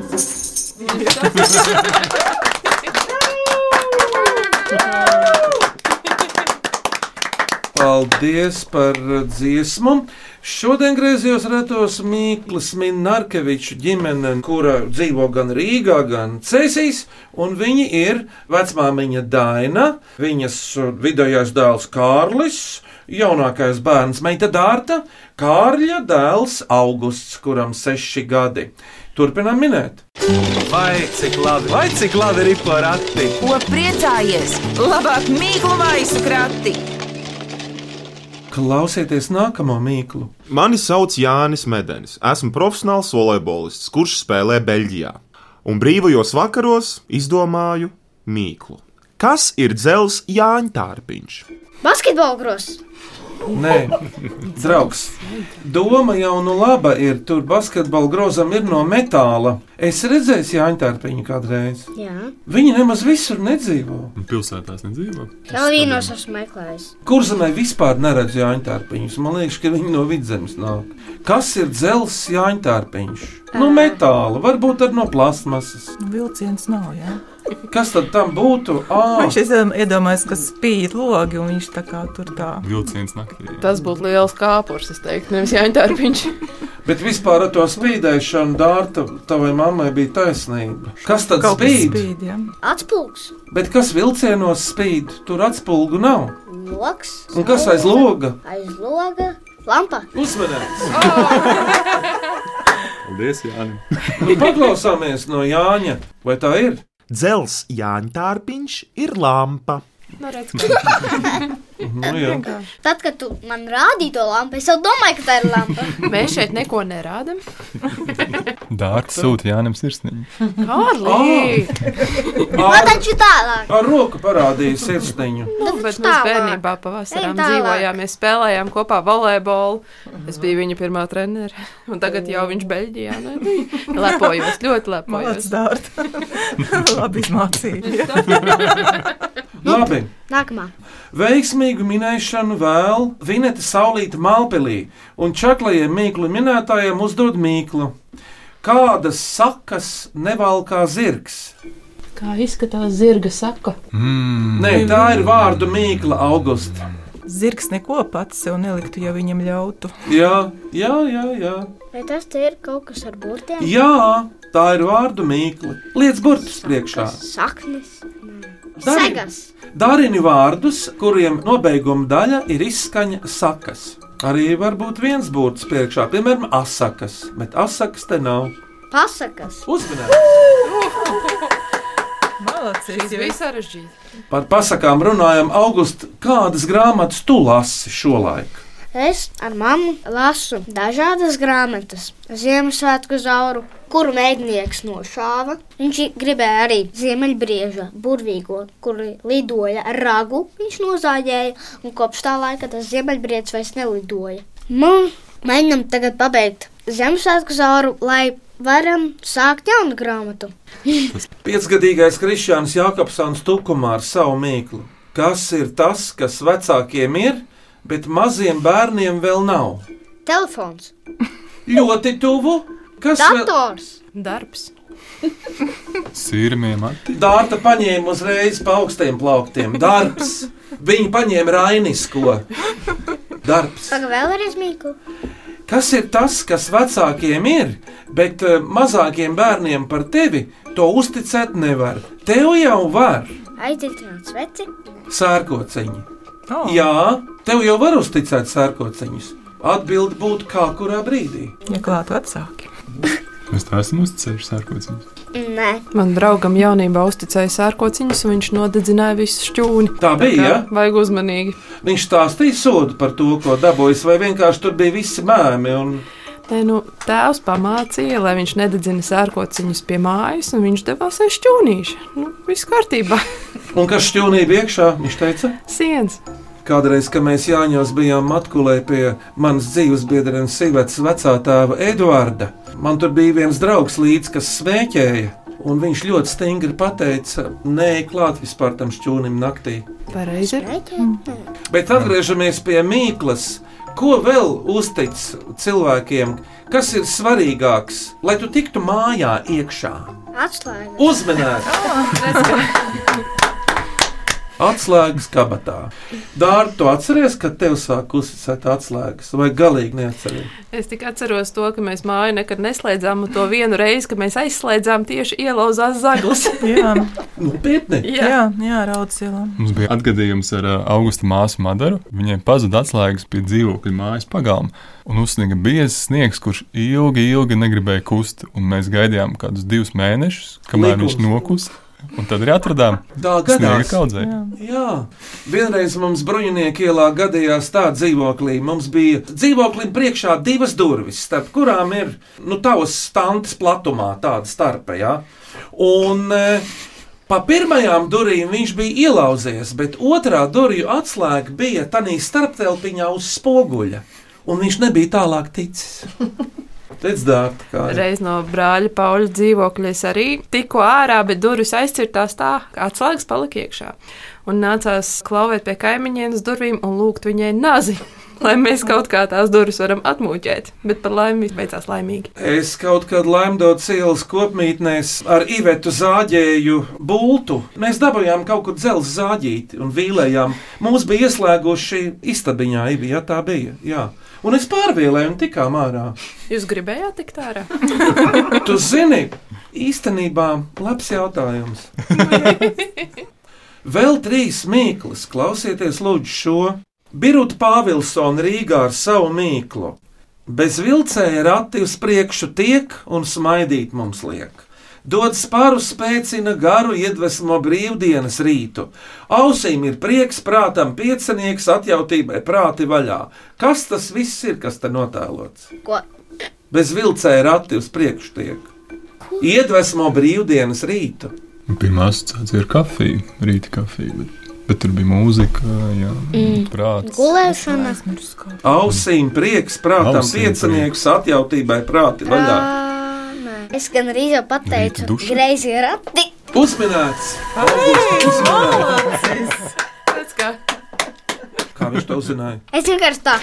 Speaker 3: Paldies par uh, dziesmu. Šodien griezījos Rētos Mīklis Minārkeviču ģimene, kura dzīvo gan Rīgā, gan Cēsīs, un viņi ir vecmāmiņa Daina, viņas uh, vidējais dēls Kārlis, jaunākais bērns meita Dārta, Kārļa dēls Augusts, kuram seši gadi. Turpinām minēt.
Speaker 13: Vai cik labi, vai cik labi ir porakti?
Speaker 14: Ko priecājies? Labāk mīklu maisu krati!
Speaker 3: Klausieties nākamo mīklu.
Speaker 15: Mani sauc Jānis Medenis. Esmu profesionāls volejbolists, kurš spēlē Beļģijā. Un brīvajos vakaros izdomāju mīklu. Kas ir dzels Jāņa tārpiņš?
Speaker 4: Basketbola grozs.
Speaker 3: Nē, draugs. Doma jau nu laba ir. Tur basketbola grozam ir no metāla. Es redzēju Jāņa Tārpiņu kādreiz.
Speaker 4: Jā,
Speaker 3: Viņa nemaz visur nedzīvo.
Speaker 6: Pilsētās nedzīvo.
Speaker 4: Kalvīnos esmu meklējis.
Speaker 3: Kurzemē vispār neredz Jāņa Tārpiņus. Man liekas, ka viņi no vidzemes nāk. Kas ir dzels Jāņa Tārpiņš? No metāla, varbūt ar no plasmasas.
Speaker 5: Vilciens nav. Jā.
Speaker 3: Kas tad tam būtu? Ā,
Speaker 5: Viņš ir iedomājies, ka spīd logi un viņš tā kā tur tā.
Speaker 6: Vilciens naktī.
Speaker 12: Tas būtu liels kāpurs, es teiktu, nevis Jāņa Tārpiņš.
Speaker 3: Bet vispār ar to spīdēšanu, Dārta, tavai mammai bija taisnība. Kas tad
Speaker 5: Kaut kas
Speaker 3: spīd?
Speaker 5: spīd, jā.
Speaker 4: Atspūgs,
Speaker 3: Bet kas vilcienos spīd? Tur atspulgu nav.
Speaker 4: loks,
Speaker 3: Un kas aiz loga?
Speaker 4: aiz loga, lampa.
Speaker 3: Uzmanīgs!
Speaker 6: Paldies, Jāni.
Speaker 3: Nu, paklausāmies no Jāņa. Vai tā ir?
Speaker 15: Dzels Jāņa tārpiņš ir lampa.
Speaker 3: Nu, jā.
Speaker 4: Tad, kad tu man rādīji to lampu, es jau domāju, ka tā ir lampa.
Speaker 12: Mēs šeit neko nerādām.
Speaker 6: Dārts sūta Jānam sirsniņu.
Speaker 12: Kārlī!
Speaker 4: Man
Speaker 3: Ar,
Speaker 4: taču tālāk.
Speaker 3: ar roku parādīja sirsniņu.
Speaker 12: Nu,
Speaker 4: Nu,
Speaker 12: bet mēs
Speaker 4: tālāk.
Speaker 12: bērnībā pavasarā
Speaker 4: Ej tālāk.
Speaker 12: dzīvojām, mēs spēlējām kopā volejbolu. Es biju viņa pirmā trenere, un tagad jau viņš Beļģijā. nu, Lepojos, ļoti lepojos.
Speaker 5: Mācis dārta. Labi izmācīja.
Speaker 3: Labi.
Speaker 4: Nākamā.
Speaker 3: Veiksmīgu minēšanu vēl Vineta Saulīta Malpelī un čaklajiem mīklu minētājiem uzdod mīklu. Kādas sakas nevalkā zirgs?
Speaker 12: Kā izskatās zirga saka?
Speaker 3: Nē, tā ir vārdu mīkla augusta.
Speaker 5: Zirgs neko pats sev neliktu, ja viņam ļautu.
Speaker 3: Jā, jā, jā, jā.
Speaker 4: Vai tas te ir kaut kas ar burtiem?
Speaker 3: jā tā ir vārdu mīkla. Liec burtus priekšā.
Speaker 4: Saknes,
Speaker 3: Dari-
Speaker 4: segas,
Speaker 3: Darini vārdus, kuriem nobeiguma daļa ir izskaņa sakas. Arī var būt viens burts priekšā, piemēram, asakas, bet asakas te nav.
Speaker 4: Pasakas.
Speaker 7: Uzmanīgi! Malacīs, jau ir sarežģīti.
Speaker 3: Par pasakām runājam, August, kādas grāmatas tu lasi šolaik?
Speaker 4: Es ar mammu lasu dažādas grāmatas. Ziemassvētku zauru, kuru mēģinieks nošāva. Viņš gribēja arī ziemeļbrieža burvīgo, kur lidoja ar ragu. Viņš nozāģēja, un kopš tā laika tas ziemeļbriedis vairs nelidoja. Man mēģinam tagad pabeigt Ziemassvētku zauru, lai varam sākt jaunu grāmatu.
Speaker 3: Piecgadīgais Kristians Jākapsons tukumā ar savu mīklu. Kas ir tas, kas vecākiem ir, bet maziem bērniem vēl nav?
Speaker 4: Telefons,
Speaker 3: Ļoti tuvu. Kas
Speaker 4: dators,
Speaker 7: darbs.
Speaker 6: Sirmiem ar
Speaker 3: Dārta paņēma uzreiz pa augstiem plauktiem. Darbs. Viņa paņēma rainisko. Darbs.
Speaker 4: Pagaidām, vēlreiz mīklu.
Speaker 3: Kas ir tas, kas vecākiem ir, bet eh, mazākiem bērniem par tevi to uzticēt nevar? Tev jau var
Speaker 4: Aizdedzināts veci.
Speaker 3: sērkociņi. Oh. Jā, tev jau var uzticēt sērkociņus. Atbildi būtu kā kurā brīdī.
Speaker 5: Ja klāt vecāki.
Speaker 6: Mēs tā esam uzticējuši sērkociņus.
Speaker 4: Nē,
Speaker 7: Man draugam jaunībā uzticēja sērkociņus, un viņš nodedzināja visu šķūni.
Speaker 3: Tā bija,
Speaker 7: kā
Speaker 3: ja?
Speaker 7: Vajag uzmanīgi.
Speaker 3: Viņš stāstīja sodu par to, ko dabūjis, vai vienkārši tur bija visi mēmi. Un...
Speaker 7: Te, nu, tēvs pamācīja, lai viņš nededzina sērkociņus pie mājas, un viņš devās aiz šķūnīšu. Nu, viss kārtībā.
Speaker 3: Un kas šķūnīja iekšā, viņš teica?
Speaker 7: Sienas.
Speaker 3: Kādreiz, kad mēs Jāņos bijām matkulē pie manas dzīves biedra un sievietes vecā tēva Eduarda, man tur bija viens draugs līdzi, kas smēķēja, un viņš ļoti stingri pateica, nē, klāt vispār tam šķūnim naktī.
Speaker 7: Pareizi.
Speaker 3: Bet atgriežamies pie Mīklas. Ko vēl uztic cilvēkiem, kas ir svarīgāks, lai tu tiktu mājā iekšā?
Speaker 4: atslēga.
Speaker 3: Uzmanīgi! Atslēgas kabatā. Dārta, tu atceries, ka tev sāk uzticēt atslēgas, vai galīgi neatceries?
Speaker 7: Es tikai atceros to, ka mēs māju nekad neslēdzām, un to vienu reizi, kad mēs aizslēdzām tieši ielauzās zaglis.
Speaker 5: Jā,
Speaker 3: Nu, Nopietni!
Speaker 7: Jā.
Speaker 5: jā, jā raudas ielām.
Speaker 6: Mums bija atgadījums ar ā, augusta māsu Madaru. Viņai pazuda atslēgas pie dzīvokļa mājas pagalma un uzsniga biezs sniegs, kurš ilgi, ilgi negribēja kust. Un mēs gaidījām kādus divus mēnešus, kamēr
Speaker 3: Likums.
Speaker 6: viņš nokusa. Un tad arī atradām
Speaker 3: Tā
Speaker 6: sniega
Speaker 3: gadās.
Speaker 6: kaudzē.
Speaker 3: Jā, vienreiz mums bruņinieku ielā gadījās tā dzīvoklī. Mums bija dzīvoklim priekšā divas durvis, starp kurām ir nu, tavs stāvs platumā, tāda starpa. Jā. Un e, pa pirmajām durvīm viņš bija ielauzies, bet otrā durvju atslēga bija tajā starptelpiņā uz spoguļa. Un viņš nebija tālāk ticis. Redz, dārta, kā ir.
Speaker 7: Reiz no brāļa Pauli dzīvokļa es arī tiku ārā, bet durvis aizcirtās tā, ka atslēgas palika iekšā. Un nācās klauvēt pie kaimiņienes durvīm un lūgt viņai nazi, lai mēs kaut kā tās durvis varam atmūķēt. Bet par laimi viss beidzās laimīgi.
Speaker 3: Es kaut kad Lemdonas ielas kopmītnēs ar Ivetu zāģēju būtu. Mēs dabūjām kaut kur dzelzceļa zāģīti un vīlējām. Mums bija ieslēguši istabiņā, Ivi, ja tā bija. Jā. Un es pārvielēju un tikām ārā.
Speaker 7: Jūs gribējāt tikt ārā?
Speaker 3: Tu zini, īstenībā labs jautājums. Vēl trīs mīklas, klausieties, lūdzu, šo. Birūta Pāvilsona Rīgā ar savu mīklu. Bez vilcēja rati uz priekšu tiek un smaidīt mums liek. Dod spāru spēcina garu iedvesmo brīvdienas rītu. Ausīm ir prieks, prātam piecinieks, atjautībai prāti vaļā. Kas tas viss ir, kas te notēlots?
Speaker 4: Ko?
Speaker 3: Bez vilcēja rati uz priekšu tiek. Iedvesmo brīvdienas rītu.
Speaker 6: Un Pirmā asociācija ir kafija, rīta kafija. Bet, bet tur bija mūzika, jā, mm. prāts.
Speaker 4: Gulēšana.
Speaker 3: Ausīm prieks, prātam
Speaker 6: Ausīm
Speaker 3: piecinieks, atjautībai prāti vaļā.
Speaker 4: Es gan arī jau pateicu,
Speaker 3: duša?
Speaker 4: greizi ir rati.
Speaker 3: Uzminēts! Augusts, uzminēts!
Speaker 7: Redz kā.
Speaker 3: Kā viņš to uzzināja?
Speaker 4: Es vienkārši tā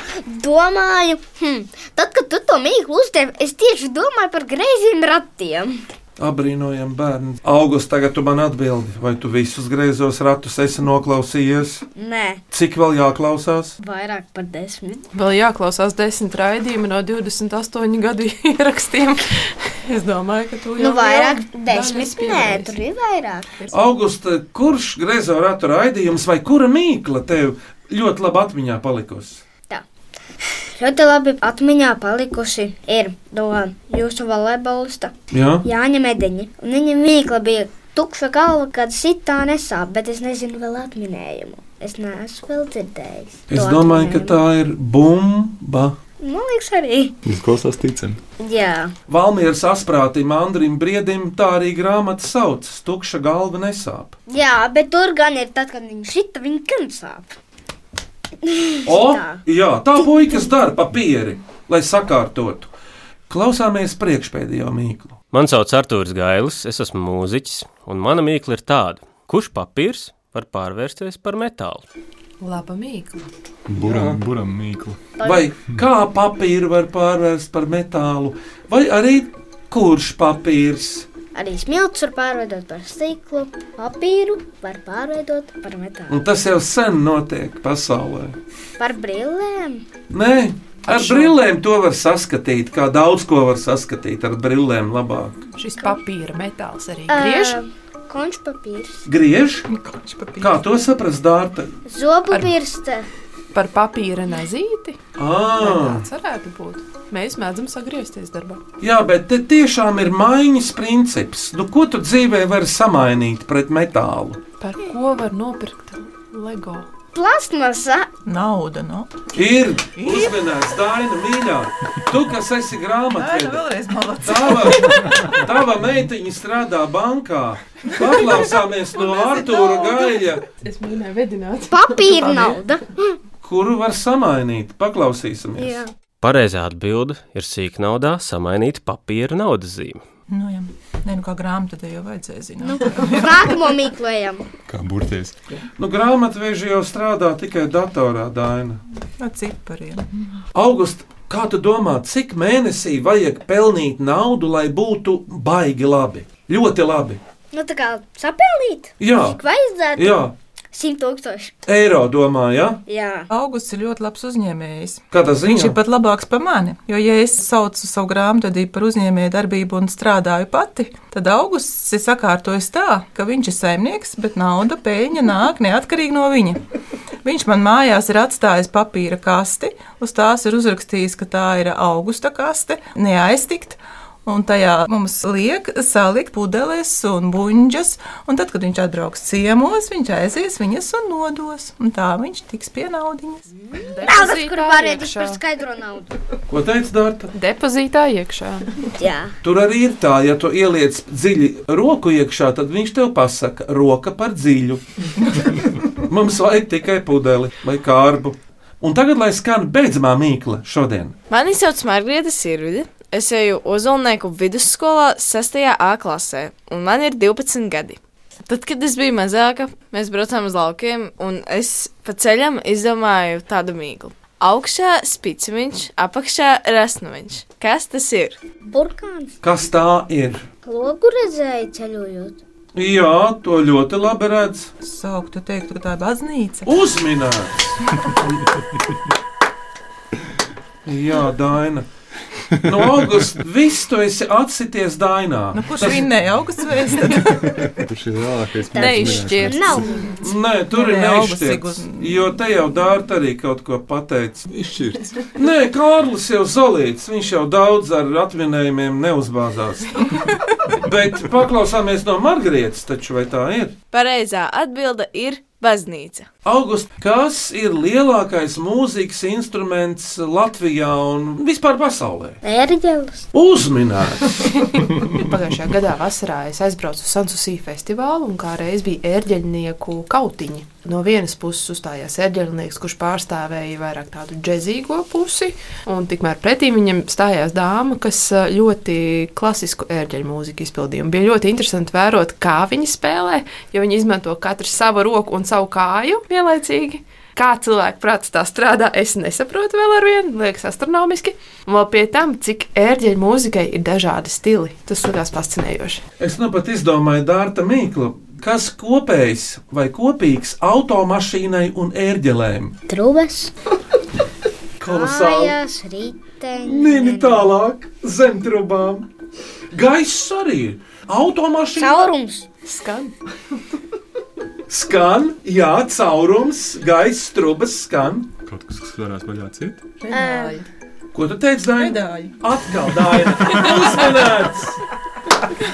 Speaker 4: domāju, hm, tad, kad tu to mīklu uzdevi, es tieši domāju par greiziem ratiem.
Speaker 3: Abrīnojam bērnu. Augusts, tagad tu man atbildi, vai tu visus griezos ratus esi noklausījies?
Speaker 4: Nē,
Speaker 3: Cik vēl jāklausās?
Speaker 4: vairāk par desmit.
Speaker 7: Vēl jāklausās desmit raidījumi no 28 gadu ierakstiem. Es domāju, ka tu jau
Speaker 4: Nu, vairāk,
Speaker 7: jau
Speaker 4: desmit.
Speaker 7: dažas
Speaker 4: Nē,
Speaker 7: pievērs.
Speaker 4: tur ir vairāk.
Speaker 3: Augusta, kurš griezo ratu raidījums vai kura mīkla tev ļoti labi atmiņā palikusi?
Speaker 4: Tā. Ļoti labi atmiņā palikuši ir no jūsu volejbolista
Speaker 3: Jā.
Speaker 4: Jāņa Medeņa. Un viņam mīkla bija tukša galva, kad sitā nesāp, bet es nezinu vēl atminējumu. Es neesmu vēl dzirdējis.
Speaker 3: Es
Speaker 4: to
Speaker 3: domāju, ka tā ir bumba.
Speaker 4: atminējumu. Man liekas, arī.
Speaker 6: Izklausās ticami.
Speaker 4: Jā.
Speaker 3: Valmīras asprātam, Andrim Briedim, tā arī grāmata saucas Tukša galva nesāp.
Speaker 4: Jā, bet tur gan ir tad, kad viņš šita, viņa gan sāp.
Speaker 3: O, jā, tā puikas dara papīri, lai sakārtotu. Klausāmies priekšpēdējo mīklu.
Speaker 16: Mani sauc Artūrs Gailis, es esmu mūziķis, un mana mīkla ir tāda, kurš papīrs var pārvērsties par metālu.
Speaker 7: Laba mīkla.
Speaker 6: Buram, buram mīklu.
Speaker 3: Vai kā papīru var pārvērst par metālu, vai arī kurš papīrs?
Speaker 4: Arī smilts var pārveidot par stiklu, papīru var pārveidot par metālu.
Speaker 3: Un tas jau sen notiek pasaulē.
Speaker 4: Par brillēm.
Speaker 3: Nē, ar brillēm to var saskatīt, kā daudz ko var saskatīt ar brillēm labāk.
Speaker 7: Šis papīra metāls arī griež.
Speaker 4: Ā, Končpapīrs,
Speaker 3: Griež, kā to saprast, dārta?
Speaker 4: zobu pirksta.
Speaker 7: Par papīra nazīti. Vai
Speaker 3: Ā,
Speaker 7: Tāds varētu būt. Mēs mēdzam sagriezties darbā.
Speaker 3: jā, bet te tiešām ir maiņas princips. Nu, ko tu dzīvē vari samainīt pret metālu?
Speaker 7: Par ko var nopirkt LEGO?
Speaker 4: Plasmasa.
Speaker 5: Nauda, no.
Speaker 3: Ir uzmanīgs, Dāna, mīļā. Tu, kas esi grāmatvedība,
Speaker 5: Vēlreiz malāts.
Speaker 3: Tava, tava meitiņa strādā bankā. Paklausāmies no Artūra Gaļa,
Speaker 7: Es mēģināju vedināt.
Speaker 4: Papīra nauda.
Speaker 3: kuru var samainīt. Paklausīsimies.
Speaker 4: Jā.
Speaker 16: Pareizā atbilde ir sīknaudā samainīt papīra naudas zīmi.
Speaker 5: Nu, jā. Nē, nu kā grāmatā te jau vajadzēja
Speaker 4: Nu,
Speaker 5: zināt.
Speaker 4: uz nākamo mīklējam.
Speaker 6: Kā burties?
Speaker 3: Nu, grāmatveži jau strādā tikai datorā, Dāna.
Speaker 5: Ar cipariem.
Speaker 3: August, kā tu domā, cik mēnesī vajag pelnīt naudu, lai būtu baigi labi? Ļoti labi.
Speaker 4: Nu, tā kā sapēlīt.
Speaker 3: Jā.
Speaker 4: Cik vajadzētu?
Speaker 3: Jā,
Speaker 4: 100 tūkstoši.
Speaker 3: eiro domā, jā?
Speaker 4: Jā.
Speaker 5: Augusts ir ļoti labs uzņēmējs.
Speaker 3: Kādā ziņā?
Speaker 5: Viņš ir pat labāks par mani. Jo, ja es saucu savu grāmatvedību par uzņēmēju darbību un strādāju pati, tad augusts ir sakārtojis tā, ka viņš ir saimnieks, bet nauda peļņa nāk neatkarīgi no viņa. Viņš man mājās ir atstājis papīra kasti, uz tās ir uzrakstījis, ka tā ir augusta kaste, neaiztikt. Un tajā mums liek salikt pudeles un buļģas. Un tad, kad viņš atbrauks ciemos, viņš aizies viņas un nodos. Un tā viņš tiks pie naudas.
Speaker 4: Nauda, kuru pārveidīs
Speaker 7: iekšā.
Speaker 4: par skaidro naudu.
Speaker 3: Ko teica Dārta?
Speaker 7: Depozītā iekšā.
Speaker 4: Jā.
Speaker 3: Tur arī ir tā, ja tu ieliec dziļi roku iekšā, tad viņš tev pasaka, roka par dziļu. Mums vajag tikai pudeli vai kārbu. Un tagad, lai skan beidzamā mīkla šodien.
Speaker 17: Mani sauc Margarita Sirvide. Es eju uz Olnieku vidusskolā 6. A klasē, un man ir 12 gadi. Tad, kad es biju mazāka, mēs braucām uz laukiem, un es pa ceļam izdomāju tādu mīklu. Augšā spīdamiņš, apakšā rasnumiņš. Kas tas ir?
Speaker 4: Burkāns.
Speaker 3: Kas tā ir?
Speaker 4: Logu redzēju ceļojot.
Speaker 3: Jā, to ļoti labi redz.
Speaker 5: Sauktu, teiktu, ka tā ir baznīca.
Speaker 3: Uzminēts! Jā, Daina. No augusta viss tu esi atsities Dainā.
Speaker 5: Nu, kurš vinnēja augusts vēstuli?
Speaker 6: Kurš ir lielākais?
Speaker 5: Tā Neizšķirts.
Speaker 4: Nav.
Speaker 3: Nē, tur ir
Speaker 5: Nē, augusts
Speaker 3: neizšķirts. Jo te jau dārta arī kaut ko pateica.
Speaker 6: Izšķirts.
Speaker 3: Nē, Kārlis jau zolīts, viņš jau daudz ar atvinējumiem neuzbāzās. Bet paklausāmies no Margarietas, taču vai tā ir?
Speaker 17: Pareizā atbilde ir baznīca.
Speaker 3: August, kas ir lielākais mūzikas instruments Latvijā un vispār pasaulē?
Speaker 4: Erģelis.
Speaker 3: Uzminēts!
Speaker 7: Pagājušajā gadā vasarā es aizbraucu uz Sansusī festivālu un kā reiz bija ērģeļnieku kautiņi. No vienas puses uzstājās ērģeļnieks, kurš pārstāvēja vairāk tādu džezīgo pusi, un tikmēr pretī viņam stājās dāma, kas ā, ļoti klasisku ērģeļu mūziku izpildīja. Un Bija ļoti interesanti vērot, kā viņi spēlē, jo viņi izmanto katru savu roku un savu kāju vienlaicīgi. Kā cilvēka prāts tā strādā, es nesaprotu vēl ar vienu, liekas, astronomiski. Un vēl pie tam, cik ērģeļu mūzikai ir dažādi stili. Tas likās fascinējoši.
Speaker 3: Es nu pat izdomāju Dārta Mīklu, kas kopējs vai kopīgs automašīnai un ērģelēm.
Speaker 4: Trūves.
Speaker 3: Kolosāli!
Speaker 4: Kājās, riteņi.
Speaker 3: Nini tālāk, zem trubām. Gaiss arī ir. Automašīna.
Speaker 4: Caurums.
Speaker 7: Skan.
Speaker 3: Skan, jā, caurums, gaisa strūklas skan.
Speaker 6: kaut kas, kas varētu vaļā ciet.
Speaker 4: Ē.
Speaker 3: Ko tu teici, Dārgai?
Speaker 5: Dāja.
Speaker 3: Atkal Dārgai. Uzmanīts!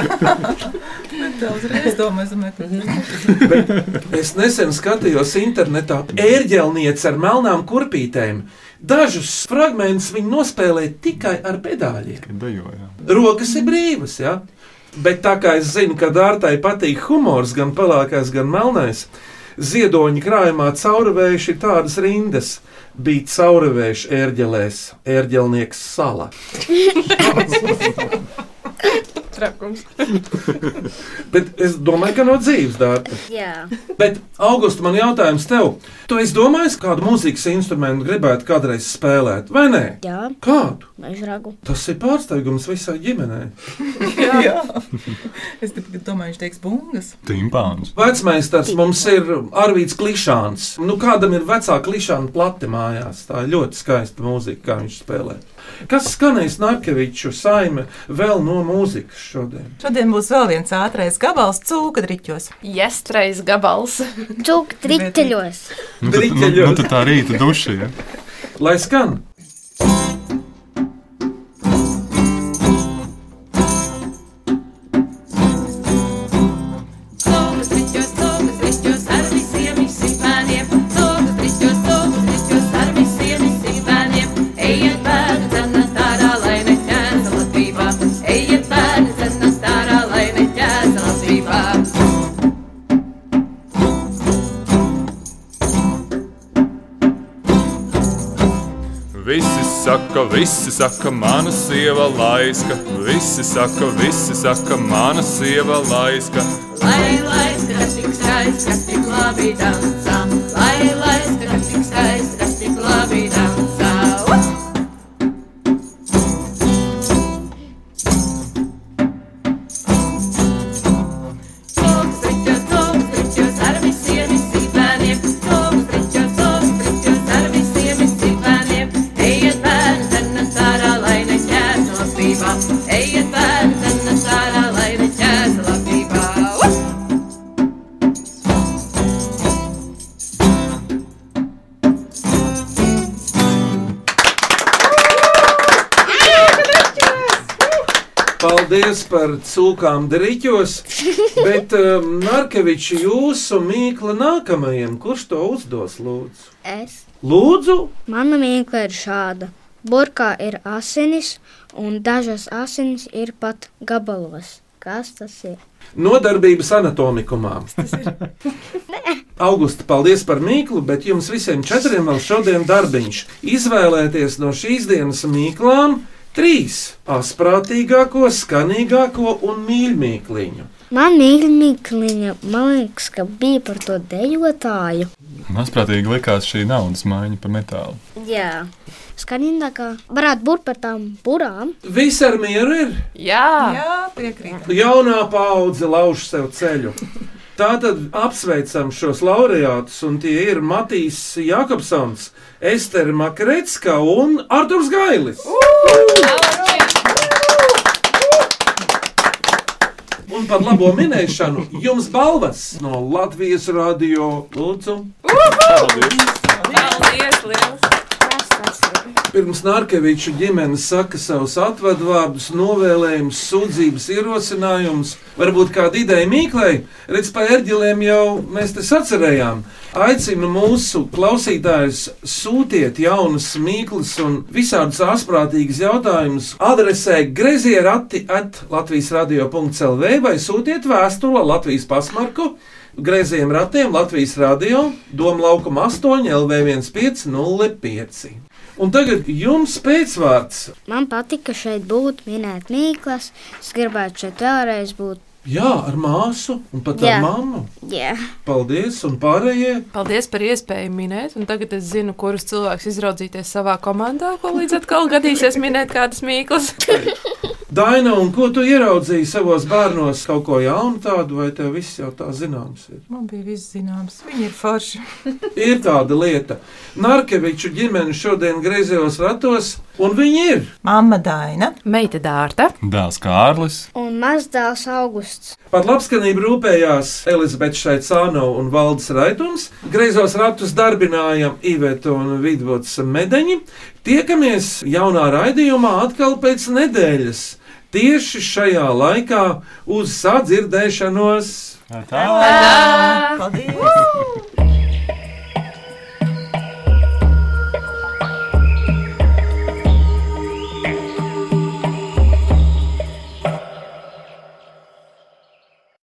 Speaker 5: Daudzreiz domāju, ka
Speaker 3: Es nesen skatījos internetā ērģelnieci ar melnām kurpītēm. Dažus fragmentus viņi nospēlē tikai ar pedāļiem.
Speaker 6: Dejojām.
Speaker 3: Rokas ir brīvas, jā. Bet tā kā es zinu, ka Dārtai patīk humors, gan pelēkais, gan melnais, ziedoņa krājumā cauruvējuši ir tādas rindas. Bija cauruvējuši ērģelēs, ērģelnieks sala.
Speaker 7: Trakums.
Speaker 3: Bet es domāju, ka no dzīves dārta.
Speaker 18: Jā.
Speaker 3: Bet, Augusta, man jautājums tev, tu esi domājis, kādu mūzikas instrumentu gribētu kādreiz spēlēt, vai nē?
Speaker 18: Jā.
Speaker 3: Kādu?
Speaker 18: Mežragu.
Speaker 3: Tas ir pārsteigums visai ģimenei.
Speaker 5: Jā. es tikai domāju, viņš teiks bungas.
Speaker 6: Timpāns.
Speaker 3: Vecmeistars mums ir Arvīts Klišāns. Nu, kādam ir vecā klišāna plate mājās? Tā ir ļoti skaista mūzika, kā viņš spēlē. Kas skanēs Narkeviču saime vēl no mūzikas šodien?
Speaker 5: Šodien būs vēl viens ātrais gabals cūka driķos.
Speaker 19: Jēstrais gabals.
Speaker 4: Cūka driteļos.
Speaker 6: Nu, tad, nu, nu, tad tā rīta duša, ja?
Speaker 3: Lai skan!
Speaker 19: Cūkas riķos, cūkas riķos, ar visiem izsīkāniem. Cūkas riķos, cūkas riķos, ar visiem izsīkāniem. Ejiet bērni, zana tārā, lai neķēza Latvībā. Ejiet bērni, zana tārā, lai neķēza Latvībā.
Speaker 6: Visi saka, visi saka, mana sieva laiska. Visi saka, visi saka, mana sieva laiska.
Speaker 19: Lai laiska, kas tik skaisti, kas tik labi dansā. Lai laiska, kas tik skaisti, kas tik labi dansā. Uz! Ejiet bērni, tad nesārā, lai neķēsa labībā. Uz!
Speaker 3: Paldies par cūkām drīķos, bet um, Narkeviču jūsu mīkla nākamajam, kurš to uzdos, lūdzu?
Speaker 4: Es.
Speaker 3: Lūdzu,
Speaker 4: Mana mīkla ir šāda. Burkā ir asinis, un dažas asinis ir pat gabalos. Kas tas ir?
Speaker 3: nodarbības anatomikumā. Augusta, paldies par mīklu, bet jums visiem četriem vēl šodien darbiņš. Izvēlēties no šīs dienas mīklām trīs - asprātīgāko, skanīgāko un mīļākliņu.
Speaker 4: Man mīļa mīkliņa, man liekas, ka bija par to dejotāju.
Speaker 6: Māsprātīgi likās šī naudas maiņa pa metālu.
Speaker 4: Jā. Skanīgākā varētu būt par tām burām.
Speaker 3: Viss ar mieru ir.
Speaker 7: Jā,
Speaker 5: Jā piekrīt.
Speaker 3: Jaunā paudze lauž sev ceļu. Tātad apsveicam šos laureātus, un tie ir Matīs Jākopsons, Estere Makretska un Arturs Gailis. Un par labo minēšanu jums balvas no Latvijas radio Lūdzu.
Speaker 19: Paldies, liels!
Speaker 3: Pirms Nārkeviča ģimenes saka savus atvadvārdus, novēlējumus, sūdzības, ierosinājumus, varbūt kādu ideju mīklei, redz par ērģelēm jau mēs te sacerējām. Aicinu mūsu klausītājus sūtiet jaunas mīklas un visādus asprātīgus jautājumus adresē grezierati at Latvijas radio.lv vai sūtiet vēstuli ar Latvijas pasmarku. Grēzījiem ratiem Latvijas Rādio, Doma laukuma 8, LV1505. Un tagad jums pēcvārds.
Speaker 4: Man patika šeit būt, minēt mīklas. Es gribētu šeit vēlreiz būt.
Speaker 3: Jā, ar māsu un pat
Speaker 4: Jā.
Speaker 3: ar mammu.
Speaker 4: Jā.
Speaker 3: Paldies, un pārējie.
Speaker 7: Paldies par iespēju minēt, un tagad es zinu, kurus cilvēkus izraudzīties savā komandā, ko līdz atkal gadīsies minēt kādas mīklas.
Speaker 3: Daina, un ko tu ieraudzīji savos bērnos? Kaut ko jaunu tādu, vai tev viss jau tā zināms ir?
Speaker 5: Man bija viss zināms, viņi ir forši.
Speaker 3: Ir tāda lieta. Narkeviču ģimene šodien griezījos ratos, un viņi ir
Speaker 5: Māma Daina,
Speaker 7: Meita Dārta,
Speaker 6: Dēls Kārlis.
Speaker 4: un mazdēls augusts.
Speaker 3: Par labskanību rūpējās Elizabete Šaicāno un Valdis Raitums. Greizos ratus darbinājām Iveta un Vidvuds Medeņi. Tiekamies jaunā raidījumā atkal pēc nedēļas. Tieši šajā laikā uz sadzirdēšanos!
Speaker 6: Tā!
Speaker 5: Paldies!